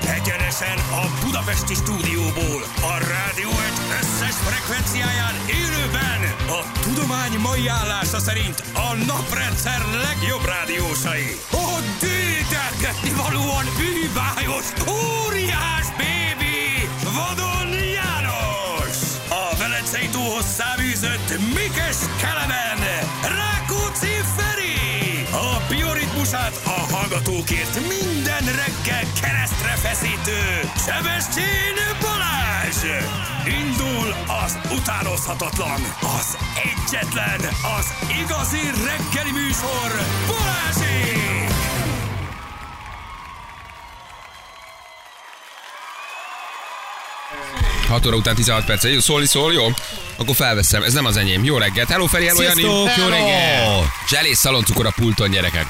Élőben a Budapesti stúdióból, a rádió egy összes frekvenciáján élőben a tudomány mai állása szerint a naprendszer legjobb rádiósai. A dédelgetni valóan bűvájos, óriás bébi, vadon János! A Velencei túlhoz száműzött Mikes Kelemen, Rákóczi Feri! A bioritmusát a hallgatókért minden reggel keresztre feszítő Sebestyén Balázs! Indul az utánozhatatlan, az egyetlen, az igazi reggeli műsor Balázsék! Hat óra után 16 perc. Jó, szólni szól, jó? Akkor felveszem. Ez nem az enyém. Jó reggelt. Hello, Feri, hello, Jani. Sziasztok, jó reggel! Zselés szaloncukor a pulton, gyerekek.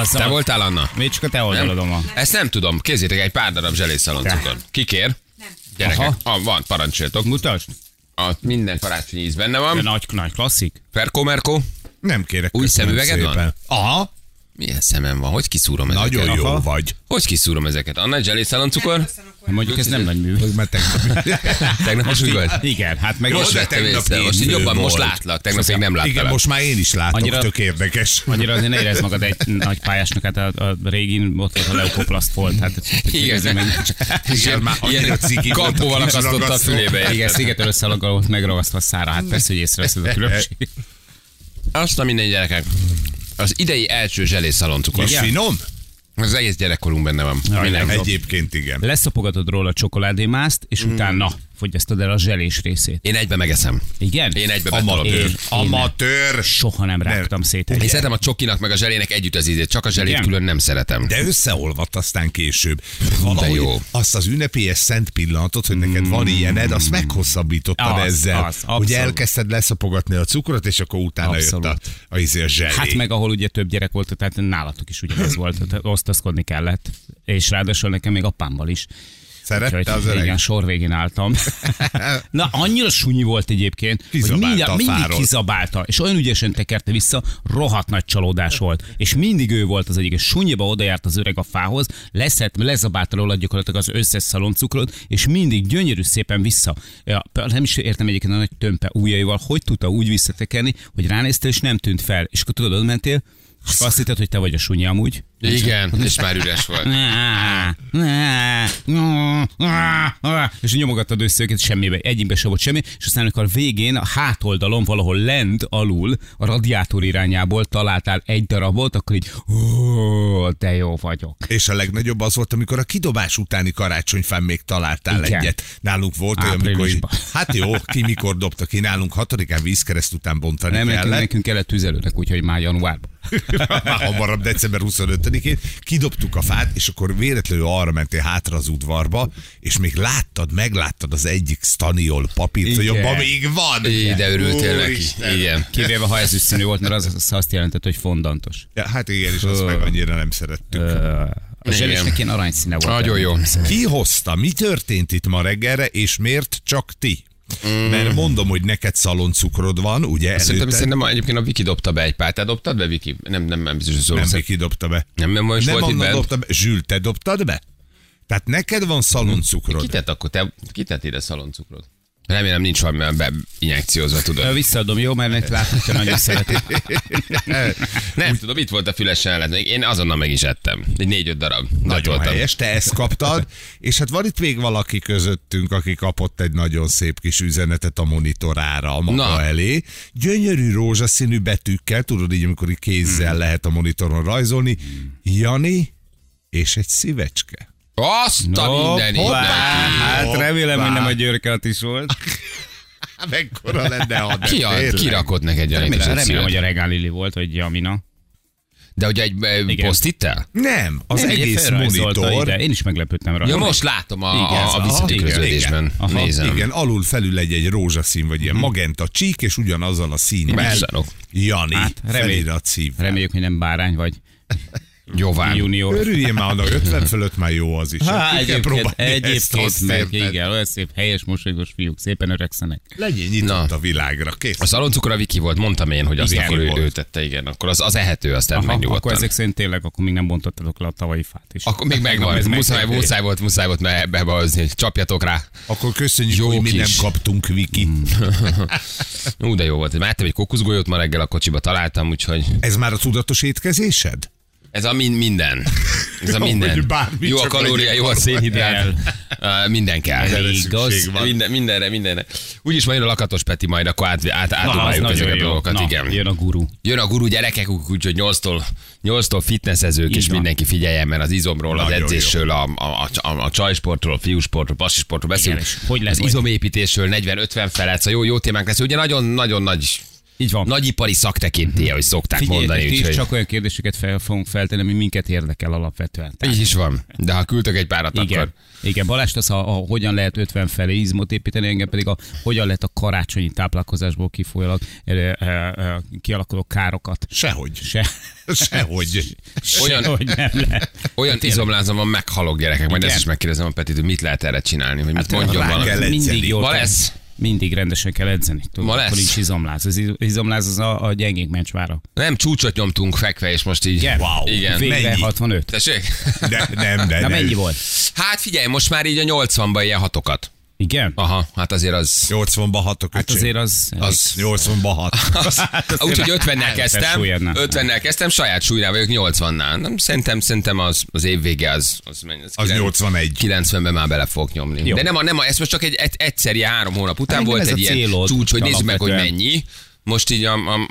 Az, Te az. voltál, Anna? Még csak a te oldalodom a... Ezt nem tudom. Kézzétek egy pár darab zselés szaloncukor. Kikér? Gyerekek. Aha. Ah, van, parancsoljatok. Mutasd. A minden karácsonyi íz benne A van. nagy, nagy klasszik. Ferko Merko, Nem kérek. új köszönöm szemüveged szépen. van? Aha, Milyen szemem van? Hogy kiszúrom ezeket? nagyon jó Aha. vagy. Hogy kiszúrom ezeket? Anna, egy zselés szaloncukor? Mondjuk ez nem nagy mű. Hogy már tegnap. Tegnap most úgy vagy? Igen, hát meg Most de vettem tegnap észre, most így így jobban, mű most volt. látlak, tegnap még nem láttalak. Igen, most már én is látok, Annyira- tök érdekes. Annyira azért ne érezd magad egy nagy pályásnak, hát a, a régin ott volt a leukoplaszt volt. Hát, Igen, Igen, már annyira cigi volt, kampóval a kis akasztotta a ragasztó. fülébe. igen, szigetelő szalaggal volt megragasztva a szára. Hát persze, hogy észreveszed a különbség. Azt a minden gyerekek. Az idei első zselészaloncukor. És finom? Az egész gyerekkorunk benne van. Minden. Egyébként igen. Leszopogatod róla a csokoládémászt, és Mhm. utána fogyasztod el a zselés részét. Én egybe megeszem. Igen? Én egybe betolom. Én- Amatőr. én- Amatőr. Soha nem rágtam szét Én egy. szeretem a csokinak meg a zselének együtt az ízét, csak a zselét Igen. külön nem szeretem. De összeolvadt aztán később. Valahogy jó. azt az ünnepélyes szent pillanatot, hogy neked Mm. van ilyened, azt meghosszabbítottad Az, ezzel, az, abszolút. hogy elkezdted leszapogatni a cukrot, és akkor utána jött a, Abszolút. a, izé a zselé. Hát meg ahol ugye több gyerek volt, tehát nálatok is ugyanez volt, tehát osztozkodni kellett, és ráadásul nekem még apámmal is. Úgyhogy Szerette az öreg? igen, sor végén álltam. Na, annyira sunyi volt egyébként, Kizabálta hogy a mindjárt, mindig fáról. kizabálta, és olyan ügyesen tekerte vissza, rohadt nagy csalódás volt. És mindig ő volt az egyik, és sunyiba odajárt az öreg a fához, leszett, lezabálta róla gyakorlatilag az összes szaloncukrot, és mindig gyönyörű szépen vissza. Ja, pe- nem is értem egyébként a nagy tömpe ujjaival, hogy tudta úgy visszatekerni, hogy ránéztél, és nem tűnt fel. És akkor tudod, ott mentél, és azt hitted, hogy te vagy a sunyi amúgy. Igen, és már üres volt. És nyomogattad össze őket semmibe, egyikbe se volt semmi, és aztán amikor a végén a hátoldalon valahol lent alul a radiátor irányából találtál egy darabot, akkor így, ó, de jó vagyok. És a legnagyobb az volt, amikor a kidobás utáni karácsonyfán még találtál Igen. egyet. Nálunk volt olyan, amikor... Áprilisban. Hát jó, ki mikor dobta ki. Nálunk hatodikán vízkereszt után bontani Nem, nekünk, kellett. nekünk kellett tüzelőnek, úgyhogy már januárban. Már hamarabb, december 25-én. Kidobtuk a fát, és akkor véletlenül arra mentél hátra az udvarba, és még láttad, megláttad az egyik staniol papírt, hogy Igen. abban még van. Így, de örültél Úristen. neki. Igen. Kivéve, ha ezüst színű volt, mert az, az azt jelentett, hogy fondantos. Ja, hát igen, és azt Ö. meg annyira nem szerettük. A zselésnek ilyen aranyszíne volt. Nagyon jó. Ki hozta? Mi történt itt ma reggelre, és miért csak ti? Mert mondom, hogy neked szaloncukrod van, ugye? Mm. Szerintem, előtted? szerintem egyébként a Viki dobta be egy pár. Te dobtad be, Viki? Nem, nem, nem biztos, hogy szólom. Nem Viki dobta be. Nem, nem, most nem volt itt Anna bent. dobta be. Zsül, te dobtad be? Tehát neked van szaloncukrod. Kitett akkor? Te kitett ide szaloncukrot? Remélem nincs valami be injekciózva, Ö, tudod. Visszaadom, jó, mert látom, hogy te nagyon szereti. Nem tudom, itt volt a fülesen ellen. Én azonnal meg is ettem. Egy négy-öt darab. Nagyon Datoltam. helyes, te ezt kaptad, és hát van itt még valaki közöttünk, aki kapott egy nagyon szép kis üzenetet a monitorára, a maga Na. elé. Gyönyörű rózsaszínű betűkkel, tudod így, amikor így Hmm. kézzel lehet a monitoron rajzolni. Jani és egy szívecske. Azt a minden Hoppá! mindenki. Hát remélem, hogy Hoppá! nem a Györke is volt. Hát mekkora lenne, ha Hát nem Ki ad, tényleg. kirakod neked Remélem, gyanítás remélem, hogy a Regál Lili volt, vagy Jamina. De ugye egy eh, Igen. posztittel? Nem, az Ugye egész felrajzolta monitor. Ide. Én is meglepődtem rajta. Ja, most látom a, Igen, a, a aha, visszatükröződésben. igen. Aha, Nézem. Hmm. Igen, alul felül egy, egy rózsaszín, vagy ilyen magenta csík, és ugyanazzal a színnel Megszarok. Jani Hát, remély- felirat szív. Reméljük, hogy nem bárány hát, vagy. Jóván. junior. Örüljél már, annak 50 fölött már jó az is. Há, Ki kell egyébként, próbálni egyébként ezt-azt, meg, érted? igen, olyan szép, helyes, mosolygós fiúk, szépen öregszenek. Legyél nyitott Na. a világra, kész. A szaloncukor a Viki volt, mondtam én, hogy az Igen, akkor ő, volt. ő, tette, igen. Akkor az, az ehető, aztán Aha, Aha, megnyugodtan. akkor ezek szerint tényleg, akkor még nem bontottatok le a tavalyi fát is. Akkor még megvan, Ez ez muszáj, megtörtént. muszáj volt, muszáj volt be- bebehozni, hogy csapjatok rá. Akkor köszönjük, Jó hogy mi kis. nem kaptunk Viki. Hmm. Ú, de jó volt. Már ettem egy kokuszgolyót, ma reggel a kocsiba találtam, úgyhogy Ez már a tudatos étkezésed? ez a min- minden. Ez a Jó, hogy minden. bármi Jó a csak kalória, legyen jó a szénhidrát. Ö, Minden kell. Erre Igaz? szükség van. Minden, mindenre, mindenre. Úgyis majd jön a lakatos Peti, majd akkor át, át, Na, az átdobáljuk ezeket nagyon a jó. dolgokat. Na, igen. Jön a guru. Jön a guru gyerekek, úgyhogy 8-tól, 8-tól fitnessezők, Így és van. mindenki figyeljen, mert az izomról, az Nagyon jó. edzésről, a, a, a, a, a csajsportról, a fiúsportról, pasisportról beszélünk. Igen, és hogy lesz az majd? izomépítésről 40-50 felett, szóval jó, jó témánk lesz. Ugye nagyon-nagyon nagy, Így van. nagyipari szaktekintélye, ahogy szokták mondani. Figyeljetek, ti Úgyhogy... is Csak... csak olyan kérdéseket fel fogunk feltenni, ami minket érdekel alapvetően. Tehát, Így is van. De ha küldtök egy párat, akkor... igen, igen, Balázs az, a, a, hogyan lehet 50 felé izmot építeni, engem pedig a hogyan lehet a karácsonyi táplálkozásból kifolyólag e, e, e, kialakuló károkat. Sehogy. Se, Sehogy. Olyan- olyan, hogy nem lehet. Olyan izomlázom van, meghalok gyerekek. Majd Igen. ezt is megkérdezem a Petit, hogy mit lehet erre csinálni, hogy mit Hát, mondjon rá valamit. kell edzeni. mindig jól Ma kell- lesz. Mindig rendesen kell edzeni. Tudod, Ma Akkor lesz. nincs izomláz. Az iz- izomláz az a, a gyengék mencsvára. Nem csúcsot nyomtunk fekve, és most így... Igen. Wow. Igen. Végre Mennyi? 65. Tessék? De, nem, de, Na nem. mennyi volt? Hát figyelj, most már így a 80-ban ilyen hatokat. Igen? Aha, hát azért az... 80-ban 6 a Hát köcsém. azért az... Az 80-ban 6. Hát Úgyhogy 50-nel kezdtem, súlyadnál. 50-nel kezdtem, saját súlynál vagyok 80-nál. Nem, szerintem, szerintem az, az év vége az, az, mennyi, Az 9 81. 90-ben már bele fogok nyomni. Jó. Jó. De nem, a, nem a, ez most csak egy, egy egyszeri három hónap után Hát volt nem ez egy a ilyen célod csúcs, hogy nézzük meg, hogy alapvetően. mennyi. Most így a, a,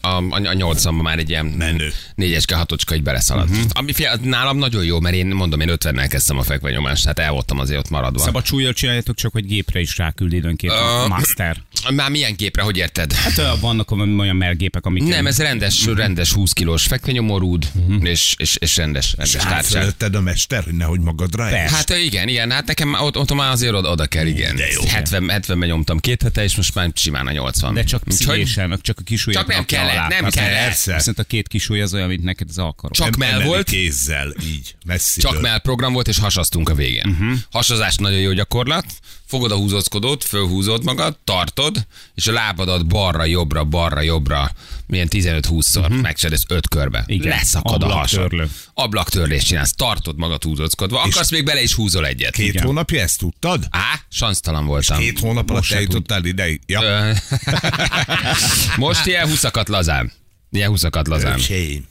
a, a, a, a 80 már egy ilyen Menő. négyeske, hatoska így beleszaladt. Mhm. Uh-huh. Ami fia, nálam nagyon jó, mert én mondom, én 50-nel kezdtem a fekvenyomást, tehát el voltam azért ott maradva. Szabad súlyjal csináljátok, csak hogy gépre is ráküld időnként a Ö, master. Már milyen képre, hogy érted? Hát Mhm. ö, vannak olyan mergépek, amik... Nem, ez rendes, rendes 20 kilós fekvenyomorúd, Mhm. uh-huh. és, és, és rendes, rendes társaság. Átfelötted hát a mester, hogy nehogy magadra el. Persze. Hát igen, igen, hát nekem ott, ott már azért oda, oda kell, igen. De jó. 70, 70-ben nyomtam két hete, és most már simán a 80. De csak Úgyhogy pszichésen, csak a kis Csak nem kellett, nem Hát kellett. Persze. Viszont a két kis az olyan, mint neked az alkalom. Csak mell Emeli volt, Kézzel, így, messziről. csak mell program volt, és hasaztunk a végén. Uh-huh. Hasazás nagyon jó gyakorlat, fogod a húzóckodót, fölhúzod magad, tartod, és a lábadat balra-jobbra, balra-jobbra, milyen 15-20-szor uh-huh. megcsinálod, öt körbe. Igen. Leszakad a hasad. Ablaktörlő. Ablaktörlést csinálsz, tartod magad húzóckodva, akarsz még bele is húzol egyet. Két hónapja ezt tudtad? Á, sansztalan voltam. Két hónap alatt eljutottál ideig. Ja, Ö, Most ilyen huszakat lazán. Ilyen huszakat lazán. öcsém.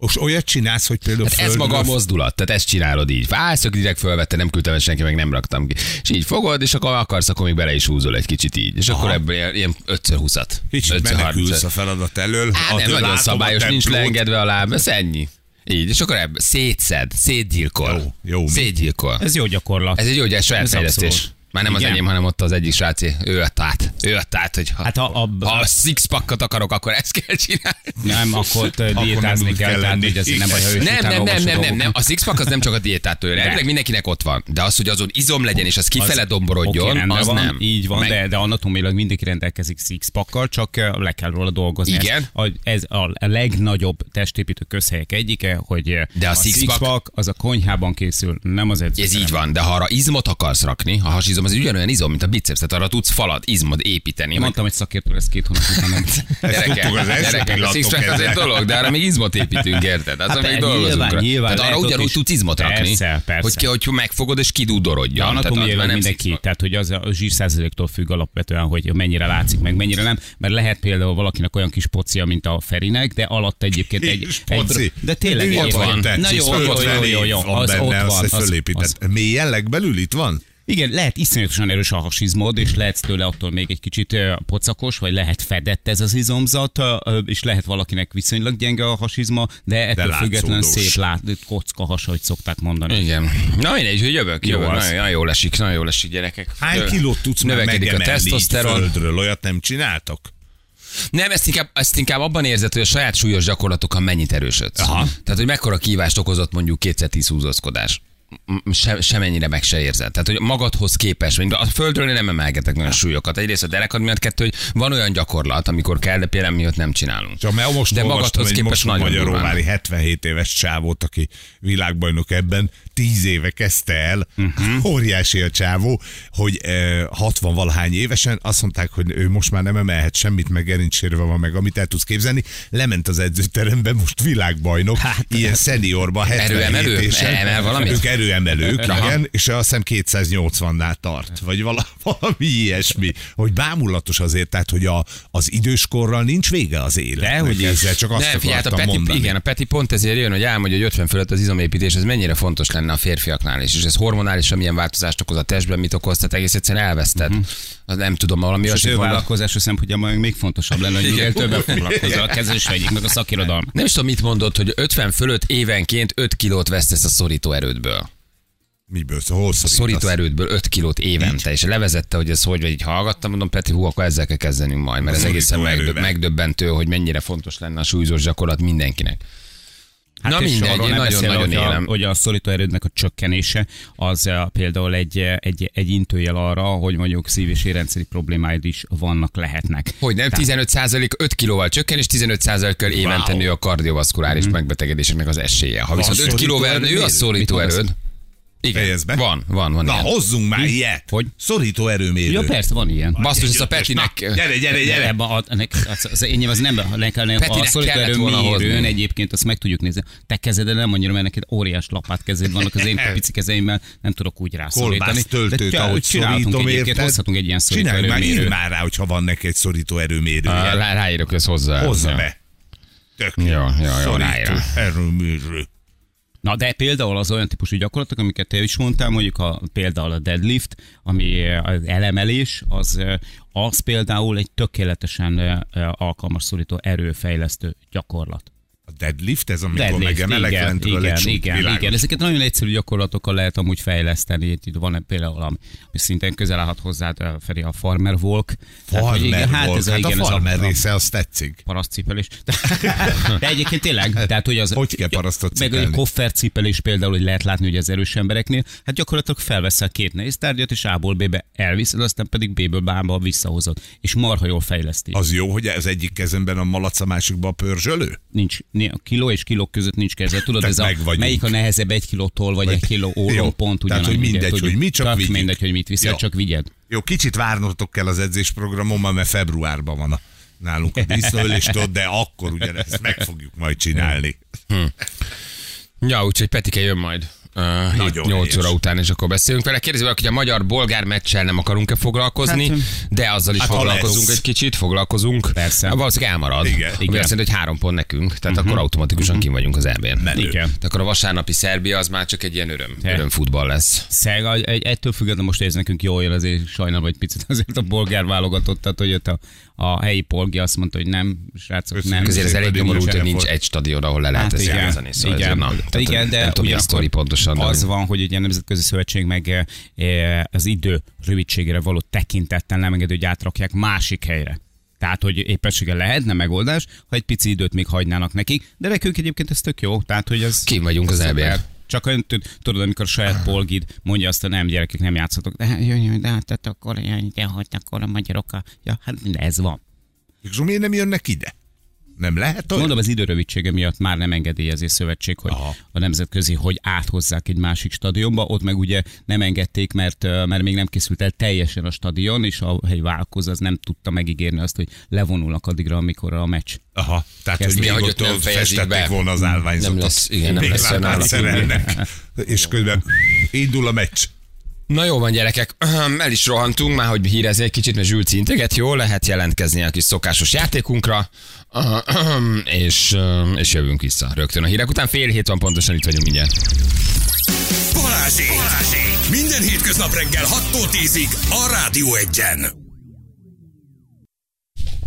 Most olyat csinálsz, hogy például Hát ez földről- maga a mozdulat, tehát ezt csinálod így. Válsz, akkor direkt fölvette, nem küldtem el senki, meg nem raktam ki. És így fogod, és akkor akarsz, akkor még bele is húzol egy kicsit így. És akkor ebből ilyen- ilyen 5x20-at. Kicsit menekülsz a feladat elől. Á, nem, Addig nagyon látom a szabályos, nincs templót. leengedve a láb, ez ennyi. Így, és akkor ebből szétszed, szétgyilkol. Jó, jó, mi? Szétgyilkol. Ez jó gyakorlat. Ez egy jó, ugye, saját Ez abszolút. fejlesztés. Már nem az Igen. enyém, hanem ott az egyik srácé. Ő adta át. Ő adta át, hogy ha, Hát ha a- ha a sixpackot akarok, akkor ezt kell csinálni. Nem, akkor te diétázni úgy kell, kell tehát lenni. hogy azért nem baj, ha ő Nem, sétál, nem, nem, nem, olvasod nem, dolgokat. nem. A sixpack az nem csak a diétától jön. Elvileg mindenkinek ott van. De az, hogy azon izom legyen, és az kifele Oké, domborodjon, rendben az van, nem. Így van, Meg- de, de anatomilag mindenki rendelkezik sixpackkal, csak eh, le kell róla dolgozni. Igen. Ez, a, ez a legnagyobb testépítő közhelyek egyike, hogy eh, De a sixpack- sixpack az a konyhában készül, nem az edző. Ez így van, de ha arra izmot akarsz rakni, a hasizom az ugyanolyan izom, mint a biceps, tehát arra tudsz falad, izmod építeni. meg- Mondtam, hogy szakértő lesz két hónap után. nem. Ezt tudtuk az első gyerekek, a pillanatok sixpack az egy kezdve. dolog, de arra még izmot építünk, érted? Azon Hát még de dolgozunk. nyilván, rá. nyilván, Tehát arra lehet ott ugyanúgy is. tudsz izmot rakni, Persze, persze. Hogy, ki- hogy megfogod és De kidudorodjon. Tehát az anatómiai már nem mindenki, sixpack. tehát hogy az a zsírszázaléktól függ alapvetően, hogy mennyire látszik, meg mennyire nem, mert lehet például valakinek olyan kis pocia, mint a Ferinek, de alatt egyébként egy... Kis egy- poci. de tényleg Ott ilyen van, te. Na jó, Sixpack jó, ott jó, felé jó, jó, van az benne, ott van. azt te az- az- fölépített. Mélyen legbelül itt van? Igen, lehet iszonyatosan erős a hasizmod, és lehetsz tőle attól még egy kicsit ö, pocakos, vagy lehet fedett ez az izomzat, ö, ö, és lehet valakinek viszonylag gyenge a hasizma, de ettől de látszódós. függetlenül szép lát, kocka has, ahogy szokták mondani. Igen. Na mindegy, hogy jövök, Jó jövök. az. nagyon, nagyon jól esik, nagyon jól esik gyerekek. Hány Ö, kilót tudsz már Növekedik a megemelni tesztoszteron. így földről? Olyat nem csináltok? Nem, ezt inkább, ezt inkább abban érzed, hogy a saját súlyos gyakorlatokkal mennyit erősödsz. Aha. Tehát, hogy mekkora kívást okozott mondjuk 210 húzózkodás. m- se, semennyire meg se érzed. Tehát, hogy magadhoz képest, mint a földről én nem emelgetek nagyon súlyokat. Egyrészt a derekad miatt, kettő, hogy van olyan gyakorlat, amikor kell, de például miatt nem csinálunk. Csak mert most De de olvastam magadhoz egy képest most nagyon durván. magyaróvári 77 éves csávót, aki világbajnok ebben, 10 éve kezdte el, Mhm. uh-huh. óriási a csávó, hogy eh, 60 valahány évesen azt mondták, hogy ő most már nem emelhet semmit, meg gerincsérve van meg, amit el tudsz képzelni. Lement az edzőterembe, most világbajnok, hát, ilyen szeniorba, 77 Erőemelő? évesen. Emel valamit? Ők erőemelők, Aha. igen, és azt hiszem 280-nál tart, vagy vala, valami ilyesmi, hogy bámulatos azért, tehát, hogy a, az időskorral nincs vége az élet. Dehogy Hogy is. ezzel csak azt Nem, nem, figyelj, hát akartam a Peti, mondani. igen, a Peti pont ezért jön, hogy elmondja, hogy 50 fölött az izomépítés, ez mennyire fontos lenne a férfiaknál is, és ez hormonálisan milyen változást okoz a testben, mit okoz, tehát egész egyszerűen elveszted. Mhm. Az nem tudom, valami És olyasmit ő mondanak. vállalkozása szempontjából még fontosabb lenne, hogy minél többen foglalkozzanak, ezzel is vegyék meg a szakirodalmat. Nem is tudom, mit mondott, hogy 50 fölött évenként 5 kilót vesztesz a szorító erődből. Miből? Szóval hol A szorítasz? szorító erődből 5 kilót évente, és levezette, hogy ez hogy vagy így hallgattam, mondom, Peti, hú, akkor ezzel kell kezdenünk majd, mert A ez egészen szorító megdö- erővel. megdöbbentő, hogy mennyire fontos lenne a súlyzós gyakorlat mindenkinek. Hát Na és mindegy, arról én nem beszélve, nagyon-nagyon hogy a- élem. Hogy a szorító erődnek a csökkenése, az eh, például egy, egy, egy intőjel arra, hogy mondjuk szív- és érrendszeri problémáid is vannak, lehetnek. Hogy nem, 15% 5 kilóval csökken, és 15%-kal évente Wow. nő a kardiovaszkuláris mm. megbetegedéseknek az esélye. Ha viszont 5 szorító kilóval erőd? nő a szorító Mit mondasz? erőd. Igen, Fejezd be. van, van, van. Na, ilyen. hozzunk már ilyet. Hogy? Szorító erőmérő. Ja, persze, van ilyen. Basszus, ez a Ötös. Na, Petinek... eh, Gyere, gyere, De gyere. Ebben a, ennek, az, az enyém az nem, nekem a Petinek kellett szolidarő volna mérőn hozni. egyébként azt meg tudjuk nézni. Te kezeden nem annyira, mert neked óriás lapát kezed vannak az én pici kezeimmel, nem tudok úgy rászorítani. Kolbász töltőt, te- ahogy csinálhatunk szorítom, egyébként, érted? Hozhatunk egy ilyen Csinálj már, írj szolidarő már rá, hogyha van neki egy szorító erőmérő. Rá- Ráírok, hogy ez hozzá. Hozza be. Tök jó. Jó, jó, jó, Szorító ráírok. erőmérő. Na de például az olyan típusú gyakorlatok, amiket te is mondtál, mondjuk a, például a deadlift, ami eh, az elemelés, az, eh, az például egy tökéletesen eh, eh, alkalmas szorító erőfejlesztő gyakorlat. A deadlift, ez amikor Deadlift, megemelek igen, lentről igen, egy csomó igen, világot. igen, ezeket nagyon egyszerű gyakorlatokkal lehet amúgy fejleszteni. Itt itt van például, ami szintén közel állhat hozzá, Feri, a farmer walk. Tehát, hogy Farmer igen, hát ez a, hát igen, a ez a, farmer a része, az tetszik. parasztcipelés. De egyébként tényleg, tehát hogy az... Hogy kell parasztot Meg egy cipelni? koffercipelés például, hogy lehet látni, hogy az erős embereknél, hát gyakorlatilag felveszel két néztárgyat, és A-ból B-be elviszed, aztán pedig B-ből B-ba visszahozod. És marha jól fejleszti. Az jó, hogy az egyik kezemben a malac, a másikban a pörzsölő? nincs, né- a kiló és kilók között nincs keze. Tudod, Tehát ez a, meg vagyunk. melyik a nehezebb egy kilótól, vagy, Vagy- egy kiló Jó. ólom, pont Tehát, ugyanannyi. hogy mindegy, ugye, hogy tudjuk. mi, csak Tök vigyük. mindegy, hogy mit viszel, Jó. csak vigyed. Jó, kicsit várnotok kell az edzésprogramommal, mert februárban van a nálunk a díszlőléstől, de akkor ugyanezt meg fogjuk majd csinálni. Ja, úgyhogy Petike jön majd. Uh, Nagyon 8 óra helyes. után, és akkor beszélünk vele. Kérdezi valaki, hogy a magyar-bolgár meccsel nem akarunk-e foglalkozni, hm. hát, de azzal is hát ha foglalkozunk lesz. egy kicsit, foglalkozunk. Persze. Mhm. Hát Valószínűleg elmarad. Igen. Ami azt jelenti, hogy három pont nekünk, tehát akkor automatikusan kim vagyunk az elbén. Igen. Akkor a vasárnapi Szerbia az már csak egy ilyen öröm. Te. Öröm futball lesz. Szeg, egy- egy- ettől függetlenül most ez nekünk jól jön, azért sajnálom egy picit azért a bolgár válogatott, tehát hogy ott a, a helyi polgi azt mondta, hogy nem, srácok, nem. Azért ez Ezért elég pedig nyomorult, hogy nincsen nincs for- egy stadion, ahol le lehet Hát ezt igen, játszani. Szóval igen. ezért na, Hát tehát igen, de nem tudom, mi a ugyanakkor sztori pontosan. de Az hogy- van, hogy ugye a Nemzetközi Szövetség meg eh, az idő rövidségére való tekintettel nem engedi, hogy átrakják másik helyre. Tehát, hogy éppességgel lehetne megoldás, ha egy pici időt még hagynának nekik, de nekünk egyébként ez tök jó. Tehát, hogy ez Kim vagyunk az E szuper. EB-n. Csak olyan, tud- tudod, amikor a saját polgid mondja azt, hogy nem gyerekek, nem játszatok. De hát, jaj, jaj, de hát tehát akkor, jaj, de hogy akkor a magyarok. a- Ja, hát minden, ez van. És akkor miért nem jönnek ide? Nem lehet olyan? Mondom, az időrövidsége miatt már nem engedélyezi a szövetség, hogy Aha. a nemzetközi, hogy áthozzák egy másik stadionba, ott meg ugye nem engedték, mert, ö, mert még nem készült el teljesen a stadion, és a helyi vállalkozó az nem tudta megígérni azt, hogy levonulnak addigra, amikor a meccs. Aha, tehát, hogy Kezdi, még hogy ott ott nem ott fejezik festették be. volna az állványzatot. Nem lesz- igen, nem Még lesz lámpát nála. szerelnek. És közben indul a meccs. Na jó van, gyerekek, Ahem, el is rohantunk már, hogy hírezni egy kicsit, mert Zsülci integet, jó, lehet jelentkezni a kis szokásos játékunkra, Ahem, és, öm, és jövünk vissza rögtön a hírek után. Fél hét van pontosan, itt vagyunk mindjárt. Balázsék! Balázsék! Minden hétköznap reggel 6-tól 10-ig a Rádió Egyen.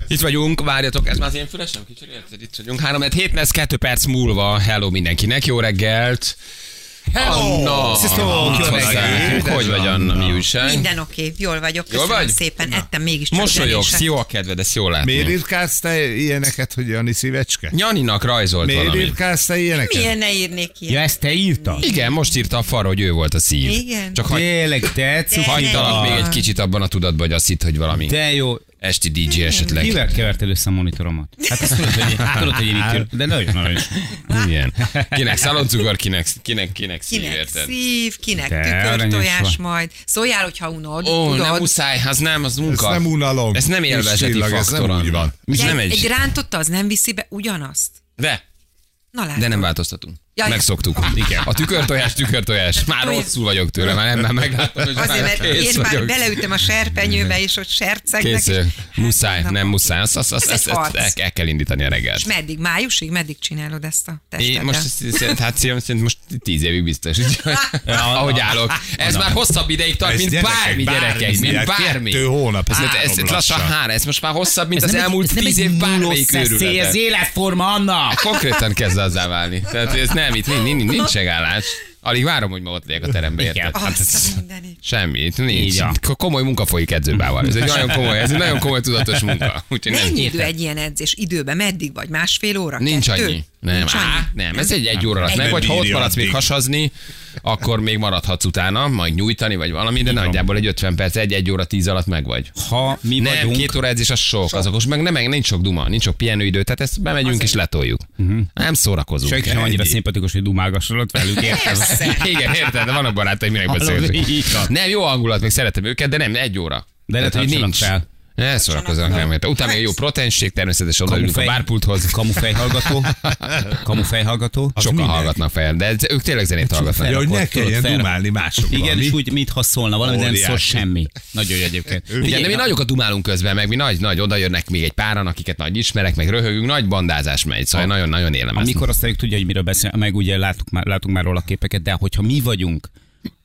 Itt vagyunk, várjatok, ez már az én füles, nem kicsit, itt vagyunk. 3 7 lesz, 2 perc múlva, hello mindenkinek, jó reggelt! Anna! Sziasztok, Mit jó hozzá? reggelt! Hogy vagy Anna, mi újság? Minden oké, jól vagyok, Jól köszönöm vagy? szépen, ettem mégis csak Mosolyogsz, zenésre. jó a kedved, ezt jól látni. Miért írkálsz te ilyeneket, hogy Jani szívecske? Janinak rajzolt Miért valamit. írkálsz te ilyeneket? Milyen ne írnék Ja, ilyet? ezt te írtad? Igen, most írta a far, hogy ő volt a szív. Igen. Csak hagy, Tényleg, te cuki hagytalak vagy. még egy kicsit abban a tudatban, hogy azt hitt, hogy valami De jó, esti DJ esetleg. kivel keverted össze a monitoromat? Hát ezt tudod, hogy, tudod, hogy én itt ülök, de nagyon aranyos. Igen. Kinek szaloncukor, kinek, kinek, kinek szív, Kinek érted? szív, kinek De aranyos tükörtojás vagy. majd. Szóljál, hogyha unod, Ó, tudod. nem muszáj, az nem, az Ez munka. nem unalom. Ez nem Kis élvezeti csillag, ez faktor. nem úgy Anna. van. Ez Ugye, nem egy egy... rántotta, az nem viszi be ugyanazt. De, Na látod. de nem változtatunk. Jaj. Megszoktuk. Igen. A tükörtojás, tükörtojás. Már Olyan. rosszul vagyok tőle, már nem, már meglátom, hogy Azért, mert kész én már vagyok. beleütöm a serpenyőbe, és ott sercegnek. Kész, eh, és- muszáj, Hát, nem na, muszáj. Azt, azt, azt, Ez egy azt, azt harc. el, el kell indítani a reggelt. És meddig? Májusig? Meddig csinálod ezt a Én testet? most ezt- szerint, hát szívem szerint most tíz évig biztos, úgyhogy Ah, ahogy állok. Ez már hosszabb ideig tart, Ez mint gyerekek, bármi bármi, gyerekek, mint ilyen bármi. kettő hónap, Ez, ez ez, három ez, lassan lassan. három, ez most már hosszabb, mint az nem egy- elmúlt ez nem tíz egy év nullós bármelyik szeszély, őrülete. Ez életforma, Anna! Konkrétan kezd azzá válni. Tehát ez nem, itt nincs, nincs, nincs megállás. Alig várom, hogy ma ott legyek a terembe. Igen. Érted? Hát ez- Azt a mindenit. Semmi, itt nincs. Így van. Ko- Komoly munka folyik edzőbával. Ez egy nagyon komoly, ez egy nagyon komoly tudatos munka. Úgyhogy nem. Mennyi idő egy ilyen edzés? Időben meddig vagy? Másfél óra? Nincs Kettő? annyi. Nem, Nincs annyi? Á, nem, ez egy egy óra alatt Egy- meg, vagy ha ott Bírja maradsz még addig. hasazni, akkor még maradhatsz utána, majd nyújtani, vagy valami, de nagyjából egy 50 perc, egy egy óra 10 alatt meg vagy. Ha mi Nem, vagyunk, két óra edzés az sok, sok. azokos meg nem, nincs sok duma, nincs sok pihenőidő, tehát ezt bemegyünk és letoljuk. Nem szórakozunk. Mhm. senki sem annyira Ennyi. szimpatikus, hogy dumálgassanak velük, érted? Persze. Igen, érted, de vannak barátaim, minek Hallod, beszélünk. így van. Nem, jó hangulat, még szeretem őket, de nem, egy óra. De ne hogy tartsanak nincs. fel. Ne szórakozzanak nem érte. Utána Hát. még jó proteinség, természetesen odaülünk a Kamufej- bárpulthoz. Kamufejhallgató. Kamufejhallgató. Sokan minek? hallgatnak fel, de ez- ők tényleg Hát zenét hallgatnak. Ja, hogy ne Akkor kelljen tudod, fel- dumálni másokkal. Igen, mi? és úgy, mintha szólna valami, de nem szól Óriási. semmi. Nagyon jó egyébként. Igen, de mi nagyokat dumálunk közben, meg mi nagy-nagy, oda jönnek még egy páran, akiket nagy ismerek, meg röhögünk, nagy bandázás megy, szóval nagyon-nagyon élem ezt. Amikor azt tudja, hogy miről beszél, meg ugye látunk már, látunk már róla képeket, de hogyha mi vagyunk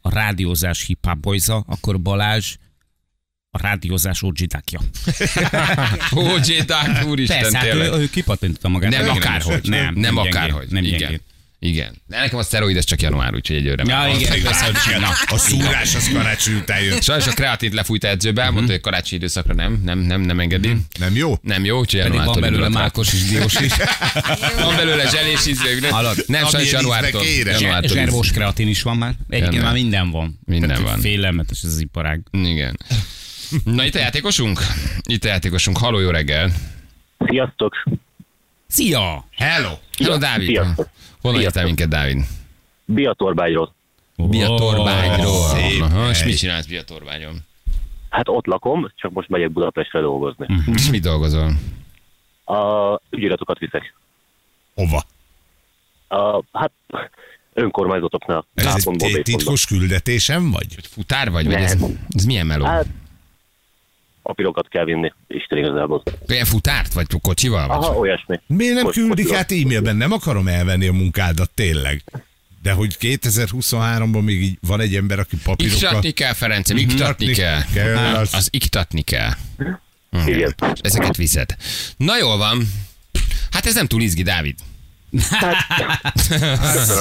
a rádiózás hip boyza, akkor Balázs a rádiózás orgidákja. Ó, Jéták, úristen, Persze, hát ő, tényleg. ő kipatintotta magát. Nem Igen, akárhogy. Nem, nem gyengéd, akárhogy. Nem Igen. gyengéd. Igen. De nekem a szteroid ez csak január, úgyhogy egyőre. Ja, már. igen, persze, hogy sem. Na, A szúrás az karácsony után jön. Sajnos a kreatint lefújta edzőbe, Mhm. elmondta, hogy karácsonyi időszakra nem, nem, nem, nem engedi. Nem jó? Nem jó, úgyhogy Pedig januártól van belőle indulhat rá. Mákos is, Diós is, Van belőle zselés ízlők, nem? Hallod? Nem, sajnos Amilyen januártól. ízbe kérem. Hát Januártól zservós kreatin is van már. Egyébként Rendben. már minden van. Minden Tehát van. Félelmetes ez az iparág. íz- Igen. Na itt a játékosunk? Itt a játékosunk. Haló, jó reggel. Sziasztok! Szia! Hello! Hello, Dávid. Sziasztok. Honnan Sziasztok. írtál minket, Dávid? Biatorbágyról. Biatorbágyról. szép Aha, és hely. mit csinálsz Biatorbágyon? Hát ott lakom, csak most megyek Budapestre dolgozni. És mit dolgozol? Hm. A ügyiratokat viszek. Hova? A, hát önkormányzatoknál. Ez egy Ápontból ti- Bépontba. titkos küldetésem vagy? Hogy futár vagy? vagy ez, Nem. ez milyen meló? Hát papírokat kell vinni, Isten igazából. Ilyen futárt? Vagy kocsival? Vagy? Aha, olyasmi. Miért nem Most- küldik most- át e-mailben? Nem akarom elvenni a munkádat, tényleg. De hogy 2023-ban még így van egy ember, aki papírokkal... Iktatni kell, Ferencem, Mhm. iktatni kell. kell, Az, az- az iktatni kell. Hm. Igen. És Ezeket viszed. Na jól van. Hát ez nem túl izgi, Dávid.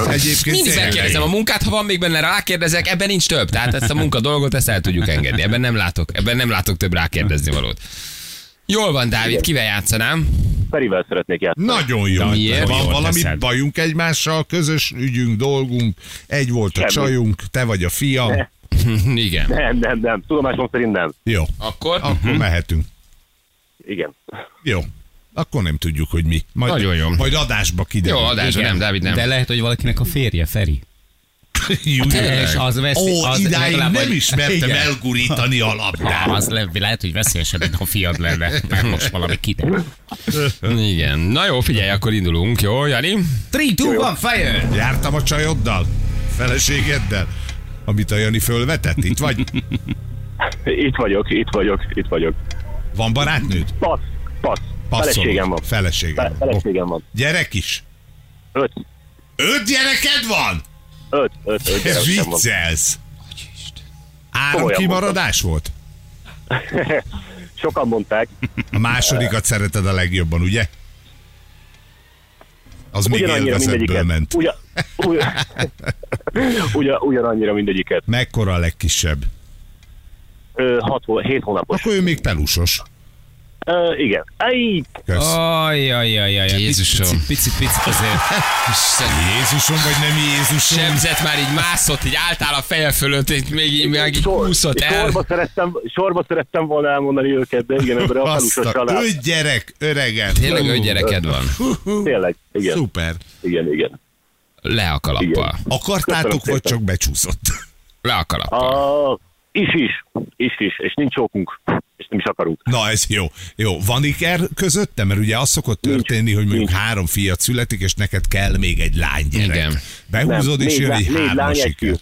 Egyébként Mindig tényleg. megkérdezem a munkát, ha van még benne rákérdezek, ebben nincs több. Tehát ezt a munka dolgot, ezt el tudjuk engedni. Ebben nem látok, ebben nem látok több rákérdezni valót. Jól van, Dávid, kivel játszanám? Ferivel szeretnék játszani. Nagyon jó. miért? Van Jól valami teszed. bajunk egymással, közös ügyünk, dolgunk. Egy volt a Semmi. csajunk, te vagy a fiam. Igen. Nem, nem, nem. Tudomásom szerint nem. Jó, Akkor Mhm. akkor mehetünk. Igen. Jó. Akkor nem tudjuk, hogy mi. Majd, Nagyon jó. Majd adásba kiderül. jó adásra, nem, Dávid, nem. De lehet, hogy valakinek a férje, Feri. Jó, És az veszi, Ó, az idáig legalább nem egy- ismertem Igen. elgurítani a Á, labdát. az le, lehet, hogy veszélyesebb, mint ha fiad lenne. Már most valami kiderül. Igen. Na jó, figyelj, akkor indulunk. Jó, Jani? 3, 2, 1, fire! Jártam a csajoddal, feleségeddel, amit a Jani fölvetett. Itt vagy? Itt vagyok, itt vagyok, itt vagyok. Van barátnőd? Passz, passz. Passzolod. Feleségem van. Feleségem Fe- van. feleségem van. Gyerek is? Öt, Öt gyereked van? öt, öt, öt. Ez gyerekem van. viccelsz. Áram Komolyan kimaradás volt? Sokan mondták, A másodikat szereted a legjobban, ugye? Az még ugyanannyira élvezetből mindegyiket. ment. Ugyan, ugyan, Ugyan, ugyanannyira mindegyiket. Mekkora a legkisebb? Ö, hat, hó- hét hónapos. Akkor ő még pelusos. Ö, igen. Ej, Kösz. Ah. Ajajajajaj. Jézusom. Pici, pici, pici azért. Isten, Jézusom vagy nem Jézusom? sebzett már így mászott, így álltál a feje fölött, így még így, még így húszott el. sorba, szerettem, sorba szerettem volna elmondani őket, de igen, ebben a falusos Baszta, család. öt gyerek, öregen. Tényleg öt gyereked van. Tényleg, igen, Szuper. igen, igen. Le a kalappal. Köszönöm Akartátok, szépen. vagy csak becsúszott? Le a kalappal. A, is is, is is, és nincs okunk, és nem is akarunk. Na ez jó. Jó, van iker közötte? Mert ugye az szokott történni, hogy mondjuk három fiat születik, és neked kell még egy lány gyerek. Igen. Behúzod, Nem, és négy jön lá- egy négy hármas lány, egy siker. fiú.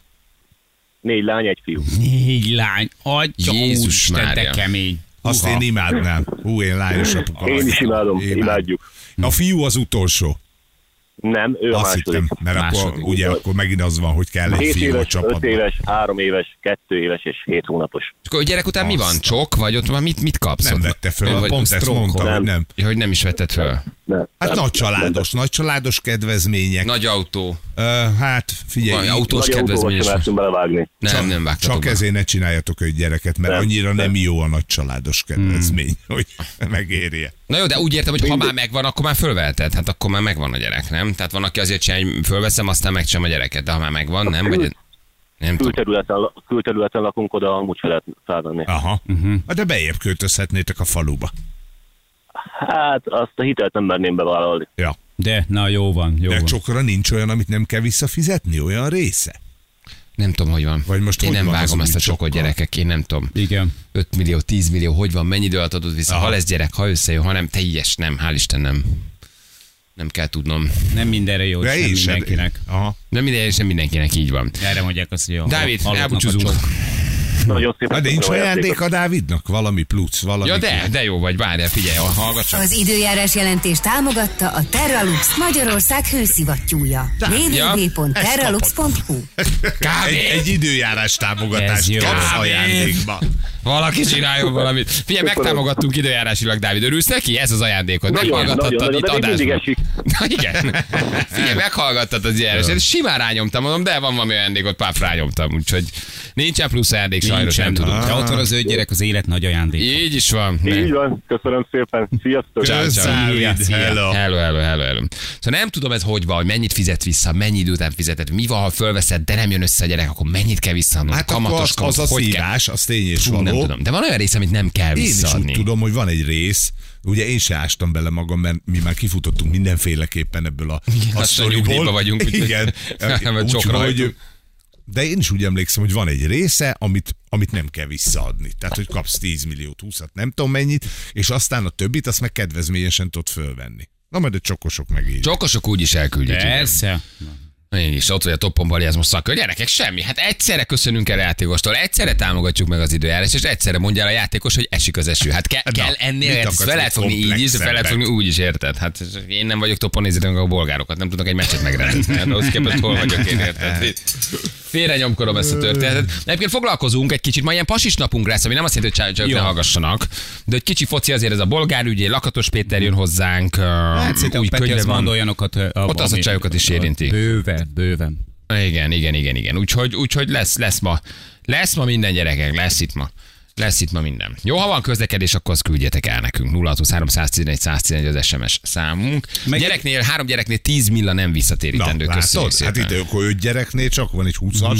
Négy lány, egy fiú. Négy lány. Atya Jézus úristen, de Mária. kemény. Azt Uha. én imádnám. Hú, én lányos apuka Én vagyok. is imádom, Én imádjuk. A fiú az utolsó. Nem, ő a Azt hittem, második. mert akkor Második. ugye akkor megint az van, hogy kell egy 7 fiú a éves, 5 csapatban. éves, 3 éves, 2 éves és 7 hónapos. És akkor a gyerek után mi van? Azt. Csok? Vagy ott van mit, mit kapsz? Nem ott? vette föl, Szóval Vagy pont ezt stroke-ot? mondta, hogy nem. Ja, hogy nem is vetted föl. Nem, Hát nem, nagy családos, nagy családos kedvezmények. Nagy autó. Ö, hát Valami autó- figyelj, Nagy Most autóba kedvezményes sem lehetünk belevágni. Nem, csak, nem vágtatok csak be. ezért ne csináljatok egy gyereket, mert Nem, annyira nem nem. jó a nagy családos kedvezmény, Hmm. hogy megérje. Na jó, de úgy értem, hogy ha már megvan, akkor már fölveheted. Hát akkor már megvan a gyerek, nem? Tehát van, aki azért csinálja, hogy fölveszem, aztán megcsinálom a gyereket, de ha már megvan, nem? Vagy nem tudom. Külterületen, külterületen lakunk, oda amúgy fel lehet felvenni. Aha. Mhm. Uh-huh. De bejebb költözhetnétek a faluba. Hát azt a hitelt nem merném bevállalni. Ja. De, na jó van, jó De van. csokra nincs olyan, amit nem kell visszafizetni, olyan része? Nem tudom, hogy van. Vagy most én hogy nem van az vágom új ezt a csokot csokkal? gyerekek, én nem tudom. Igen. 5 millió, 10 millió, hogy van, mennyi idő alatt adod vissza, Aha. ha lesz gyerek, ha összejön, ha nem, teljes, nem, hál' Isten nem. Nem kell tudnom. Nem mindenre jó, De és nem én sem. mindenkinek. Aha. Nem minden, és nem mindenkinek így van. Erre mondják azt, hogy jó. Dávid, elbúcsúzunk. Nagyon szépen. Na nincs köszönöm a ajándék játékot. a Dávidnak? Valami plusz, valami Ja, de, de jó vagy, várjál, figyelj, ha hallgat csak. Az időjárás jelentés támogatta a Terralux Magyarország hőszivattyúja. www.terralux.hu Egy, egy időjárás Ez támogatást jó. kapsz Dávid! ajándékba. Hát Valaki csináljon valamit. Figyelj, megtámogattunk időjárásilag, Dávid. Örülsz neki? Ez az ajándékod. Nagyon, nagyon, Meghallgattad nagyon, itt de még mindig adásban. esik. Na igen. Figyelj, meghallgattad az ilyen. Simán rányomtam, mondom, de van valami ajándékot, páf rányomtam. Úgyhogy nincsen plusz ajándék, sajnos nem tudunk. De ott van az öt gyerek, az élet nagy ajándék. Így is van. Így van, köszönöm szépen. Sziasztok. Ciao, Kösz, ciao. Dávid, Szia. hello. Hello, hello, hello, hello. Szóval nem tudom ez hogy van, hogy mennyit fizet vissza, mennyi idő után fizeted, mi van, ha fölveszed, de nem jön össze a gyerek, akkor mennyit kell visszaadnod? Hát akkor kamatos az, kamat, az a hogy kell? szívás, az tény és Fú, nem való. tudom. De van olyan rész, amit nem kell Én is visszaadni. úgy tudom, hogy van egy rész, ugye én se ástam bele magam, mert mi már kifutottunk mindenféleképpen ebből a, Igen, a lassan nyugdíjba sztoriból. vagyunk, úgyhogy- Igen, Mert úgy, csokra hogy, hajtunk. de én is úgy emlékszem, hogy van egy része, amit, amit nem kell visszaadni. Tehát, hogy kapsz 10 milliót, 20 nem tudom mennyit, és aztán a többit azt meg kedvezményesen tudod fölvenni. Na majd a csokosok megírják. Csokosok úgy is elküldjük. igen. Persze. Én is, ott vagy a toppon Bali, ez most szakör. Gyerekek, semmi. Hát egyszerre köszönünk el a játékostól, egyszerre támogatjuk meg az időjárás, és egyszerre mondja el a játékos, hogy esik az eső. Hát ke- Na, kell ennél, hát mit ezt akarsz fel lehet még fogni így is, de fel lehet fogni komplexebbet? úgy is, érted? Hát én nem vagyok toppon, nézzétek meg a bolgárokat, nem tudnak egy meccset megrendezni. Hát ahhoz képest hol vagyok én, Hát. érted? Félre nyomkodom ezt a történetet. Egyébként foglalkozunk egy kicsit, ma ilyen pasis napunk lesz, ami nem azt jelenti, hogy csak ne hallgassanak, de egy kicsi foci azért ez a bolgár ügyé, Lakatos Péter jön hozzánk, Hát szerintem új Peti könyve az van. mond olyanokat. ö, Ott az a ami- csajokat is érinti. Bőven, bőven. Igen, igen, igen, igen. Úgyhogy, úgyhogy lesz, lesz ma. Lesz ma minden gyerekek, lesz itt ma. Lesz itt ma minden. Jó, ha van közlekedés, akkor azt küldjetek el nekünk. 063 111 111 az SMS számunk. Meg Meg- gyereknél, három gyereknél 10 milla nem visszatérítendő. Köszönjük Hát szépen. itt akkor öt gyereknél csak van egy 20 Mhm.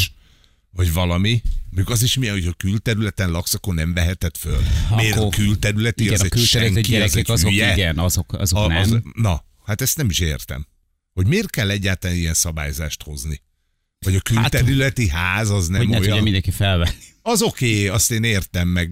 vagy valami. Mondjuk az is milyen, hogy a külterületen laksz, akkor nem veheted föl. Miért a Akkor- külterületi, Igen, az a egy senki, külterület az egy gyerekek azok, hülye. igen, azok, azok A- az- nem. na, hát ezt nem is értem. Hogy miért kell egyáltalán ilyen szabályzást hozni? Vagy a külterületi ház az nem Hát, Hogy ne tudja olyan. mindenki felvenni. Az oké, azt én értem, meg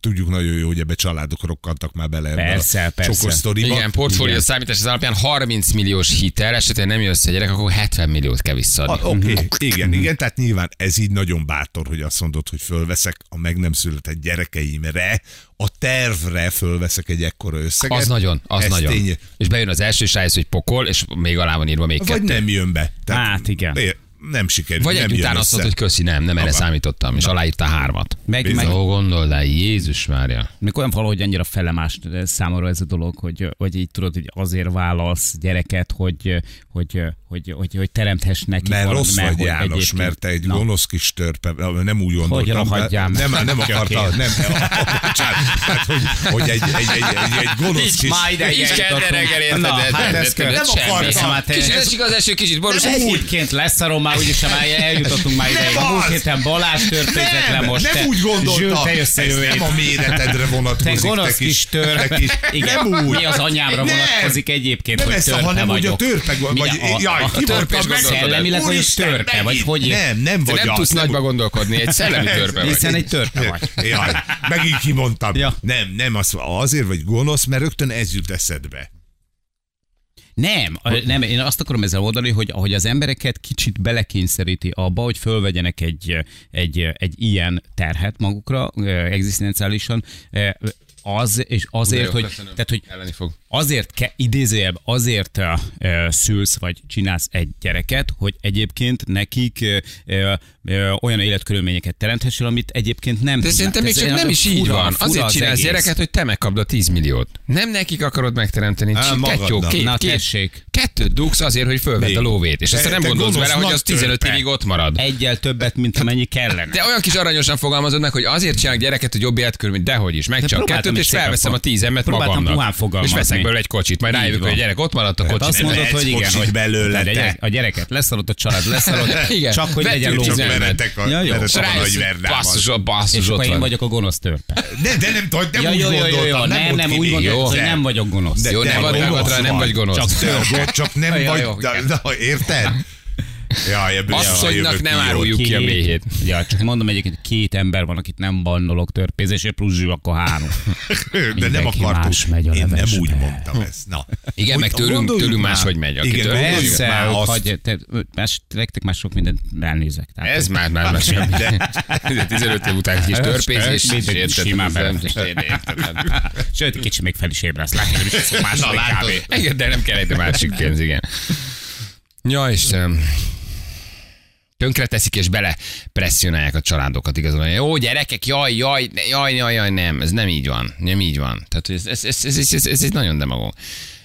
tudjuk nagyon jó, hogy ebbe családok rokkantak már bele ebbe Persze, a persze. csokos sztoriba. Igen, portfólió Igen. számítás az alapján 30 milliós hitel, esetén nem jössz egy gyerek, akkor 70 milliót kell Ah, visszaadni. Oké, igen, igen, tehát nyilván ez így nagyon bátor, hogy azt mondod, hogy fölveszek a meg nem született gyerekeimre, a tervre fölveszek egy ekkora összeget. Az nagyon, az Ez nagyon. Tény, És bejön az első, és rájössz, hogy pokol, és még alá van írva még vagy kettő. nem jön be. Hát igen. É- nem sikerült. Vagy nem egy jön utána azt össze. mondta, hogy köszi, nem, nem erre Abba. számítottam, és aláírta hármat. Meg, Meg... meg, Ó, gondold el, Jézus Mária. Még olyan valahogy annyira felemás számomra ez a dolog, hogy, hogy így tudod, hogy azért vállalsz gyereket, hogy, hogy, hogy, hogy, hogy teremthess neki. Mert valami- rossz vagy hogy János, egyébként- mert te egy gonosz kis törpe, nem úgy gondoltam. rohadjál de- meg? nem, nem akarta, nem, nem, bocsánat, hát, hogy, hogy egy, egy, egy, egy, egy gonosz kis... Így kell reggel érted, Na, de- hát de- ez de- de- nem semmi. akartam. Hát ez- Kicsit esik az eső, kicsit boros. Nem egyébként lesz arról már, úgyis már eljutottunk már ideig. A az! múlt héten Balázs történet le Nem, most. nem te- úgy Zsül, gondoltam, te ez jössz a jövő nem a héten. méretedre Te vonatkozik, gonosz kis te törp. kis, Igen, nem úgy. mi az anyámra Nem. vonatkozik egyébként, Nem hogy ezt, törpe hanem hogy a vagyok. törpe vagy- Minden- vagy- jaj, a, a ki törpe voltam, meg gondoltad el? szellemileg vagy Úristen, törpe, vagy megint. hogy Hát, Nem, nem Te vagy nem az, tudsz nagyba gondolkodni, egy szellemi törpe vagy. Hiszen egy törpe vagy. Jaj, megint kimondtam. Ja. Nem, nem, az, azért vagy gonosz, mert rögtön ez jut eszedbe. Nem, a- nem, én azt akarom ezzel oldani, hogy ahogy az embereket kicsit belekényszeríti abba, hogy fölvegyenek egy, egy, egy ilyen terhet magukra, ö, egzisztenciálisan, ö, az, és azért, jó, hogy, köszönöm. tehát, hogy Elleni fog. azért ke, idézőjebb, azért ö, ö, szülsz, vagy csinálsz egy gyereket, hogy egyébként nekik ö, ö, ö, olyan életkörülményeket teremthessél, amit egyébként nem De tudnak. szerintem még hát Ez csak olyan nem is így fura- van. fura Azért az csinálsz egész. gyereket, hogy te megkapd a 10 milliót. Nem nekik akarod megteremteni. Á, Csak Két, magadnak. jó, két, Na, két, tessék. kettőt dugsz azért, hogy fölvedd Még. a lóvét. És Te- aztán nem te gondolsz gonosz bele, hogy az nagy 15 törpe. évig ott marad. Egyel többet, mint amennyi kellene. De olyan kis aranyosan fogalmazod meg, hogy azért csinálok gyereket, hogy jobb életkörülmény, dehogy is, meg csak próbáltam kettőt, is és szépen felveszem a fog- tízemet próbáltam puhán magamnak. És fogalmazni. veszek belőle egy kocsit, majd Így rájövök, hogy a van. gyerek ott maradt a Hát azt kocsi. mondod, lehetsz hogy igen, kocsit hogy belőle, de te. gyerek- a gyereket leszarod a család, leszarod, Igen. csak hogy legyen Vetjük Csak Tizenöt. lóvé. veretek a, Ja, jó. veretek a Rájössz, nagy hogy verdában. Basszus, És basszus, ott akkor én van. vagyok a gonosz törpe. Ne, de nem, tudod, nem Ja, úgy jó, jó, jó, jó, gondoltam. nem, mondd nem, ki úgy még. gondoltam, hogy Jó. nem vagyok gonosz. De Jó, te ne vadd gonosz magadra, nem vagy. vagy gonosz. Csak Csak, csak, csak nem Ja, vagy, jó, de, igen. de, érted? Jaj, ebből Asszonynak jövök nem ki, jó. áruljuk ki a méhét. Ja, csak mondom egyébként, két ember van, akit nem bannolok törpézésért, plusz zsű, akkor három. De nem Mindenki más akartuk. megy a Én nem levesbe. úgy mondtam ezt. Na. Igen, meg tőlünk- gondoljuk tőlünk már. máshogy megy, aki Igen, tőlünk- gondoljuk Persze, már hogy azt. hagy, te, más, nektek már sok mindent elnézek. Tehát, Ez már már már semmi. De- 15 év után kis törpézés. ez mindegy, sértetlen, simán nem- bele. Sőt, kicsi még fel is ébredsz, látod, hogy is szok Na, második látod. kávé. Igen, de nem kell egy másik pénz, igen. Ja, Istenem. Tönkre teszik és bele presszionálják a családokat igazán. Jó, gyerekek, jaj, jaj, ne- jaj, jaj, jaj, nem, ez nem így van, nem így van. Tehát ez, ez, ez, ez, ez, ez, ez egy nagyon demagóg.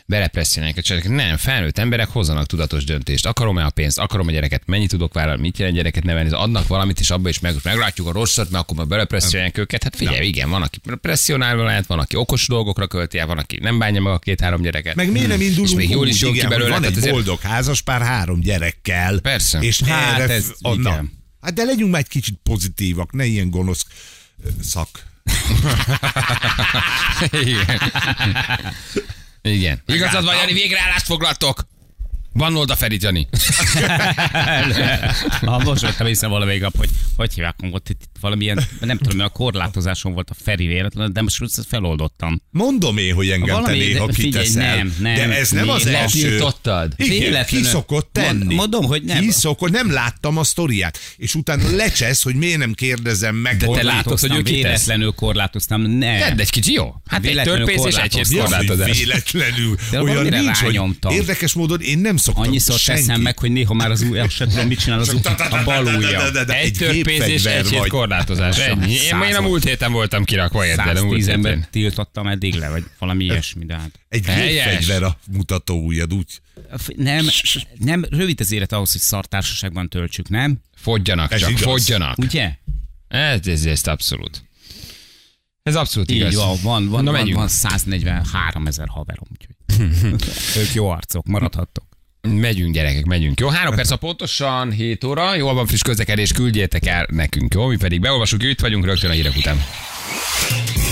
Belepresszionálják a családokat. Nem, felnőtt emberek hozzanak tudatos döntést. Akarom-e a pénzt, akarom a gyereket, mennyit tudok vállalni, mit jelent gyereket nevelni, adnak valamit, és abba is meg, meglátjuk a rosszat, mert akkor már belepresszionálják őket. Hát figyelj, igen, van, aki presszionálva lehet, van, aki okos dolgokra költi el, van, aki nem bánja meg a két-három gyereket. Meg miért nem Hmm. indulunk És még jól is úgy, jön ki igen, hogy belőle. Van tehát egy azért- boldog házaspár három gyerekkel. Persze. És Hát erre... ez a- na. igen. Hát de legyünk már egy kicsit pozitívak, ne ilyen gonosz ö, szak. Igen. Igen. Igazad van, Jani, végreállást foglaltok. Van oda Ferit, Jani. Ha most vettem észre valamelyik nap, hogy hogy hívják ott itt valamilyen, nem tudom, mi a korlátozáson volt a Feri véletlen, de most ezt feloldottam. Mondom én, hogy engem te Valami- néha de figyelj, kiteszel. nem, nem. de ez nem az Néha első. tiltottad. Igen, ki Véletlenül. szokott tenni. Mond- mondom, hogy nem. Ki szokott, nem láttam a sztoriát. És utána lecsesz, hogy miért nem kérdezem meg. De te honnan- látod, hogy ő kitesz? Véletlenül korlátoztam, nem. Tedd egy kicsi, jó? Hát egy Véletlenül törpész és egy hét korlátoz. Mi az, hogy korlátozás. véletlenül? De Olyan valamire nincs, hogy rányomtam. érdekes módon én nem szoktam Annyiszor senki. teszem meg, hogy néha már az új, azt sem tudom, mit csinál az új, a bal ujjam. De- de- de- Egy egy törpézés, gépfegyver egy hét vagy. korlátozás. Ennyi. Én, én a múlt héten voltam kirakva, érted? A múlt 110 héten. embert tiltottam eddig le, vagy valami ilyesmi, de hát. Egy Helyes. gépfegyver a mutató ujjad, úgy. Nem, nem, rövid az élet ahhoz, hogy szartársaságban töltsük, nem? Fogyjanak Ez csak, igaz. fogyjanak. Ugye? Ez, ez, ez abszolút. Ez abszolút Így igaz. van, van, van, Na, van, menjünk. van 143 ezer haverom, úgyhogy ők jó arcok, maradhattok. Megyünk, gyerekek, megyünk. Jó, három perc a pontosan, 7 óra. Jól van friss közlekedés, küldjétek el nekünk, jó? Mi pedig beolvasunk, itt vagyunk rögtön a hírek után.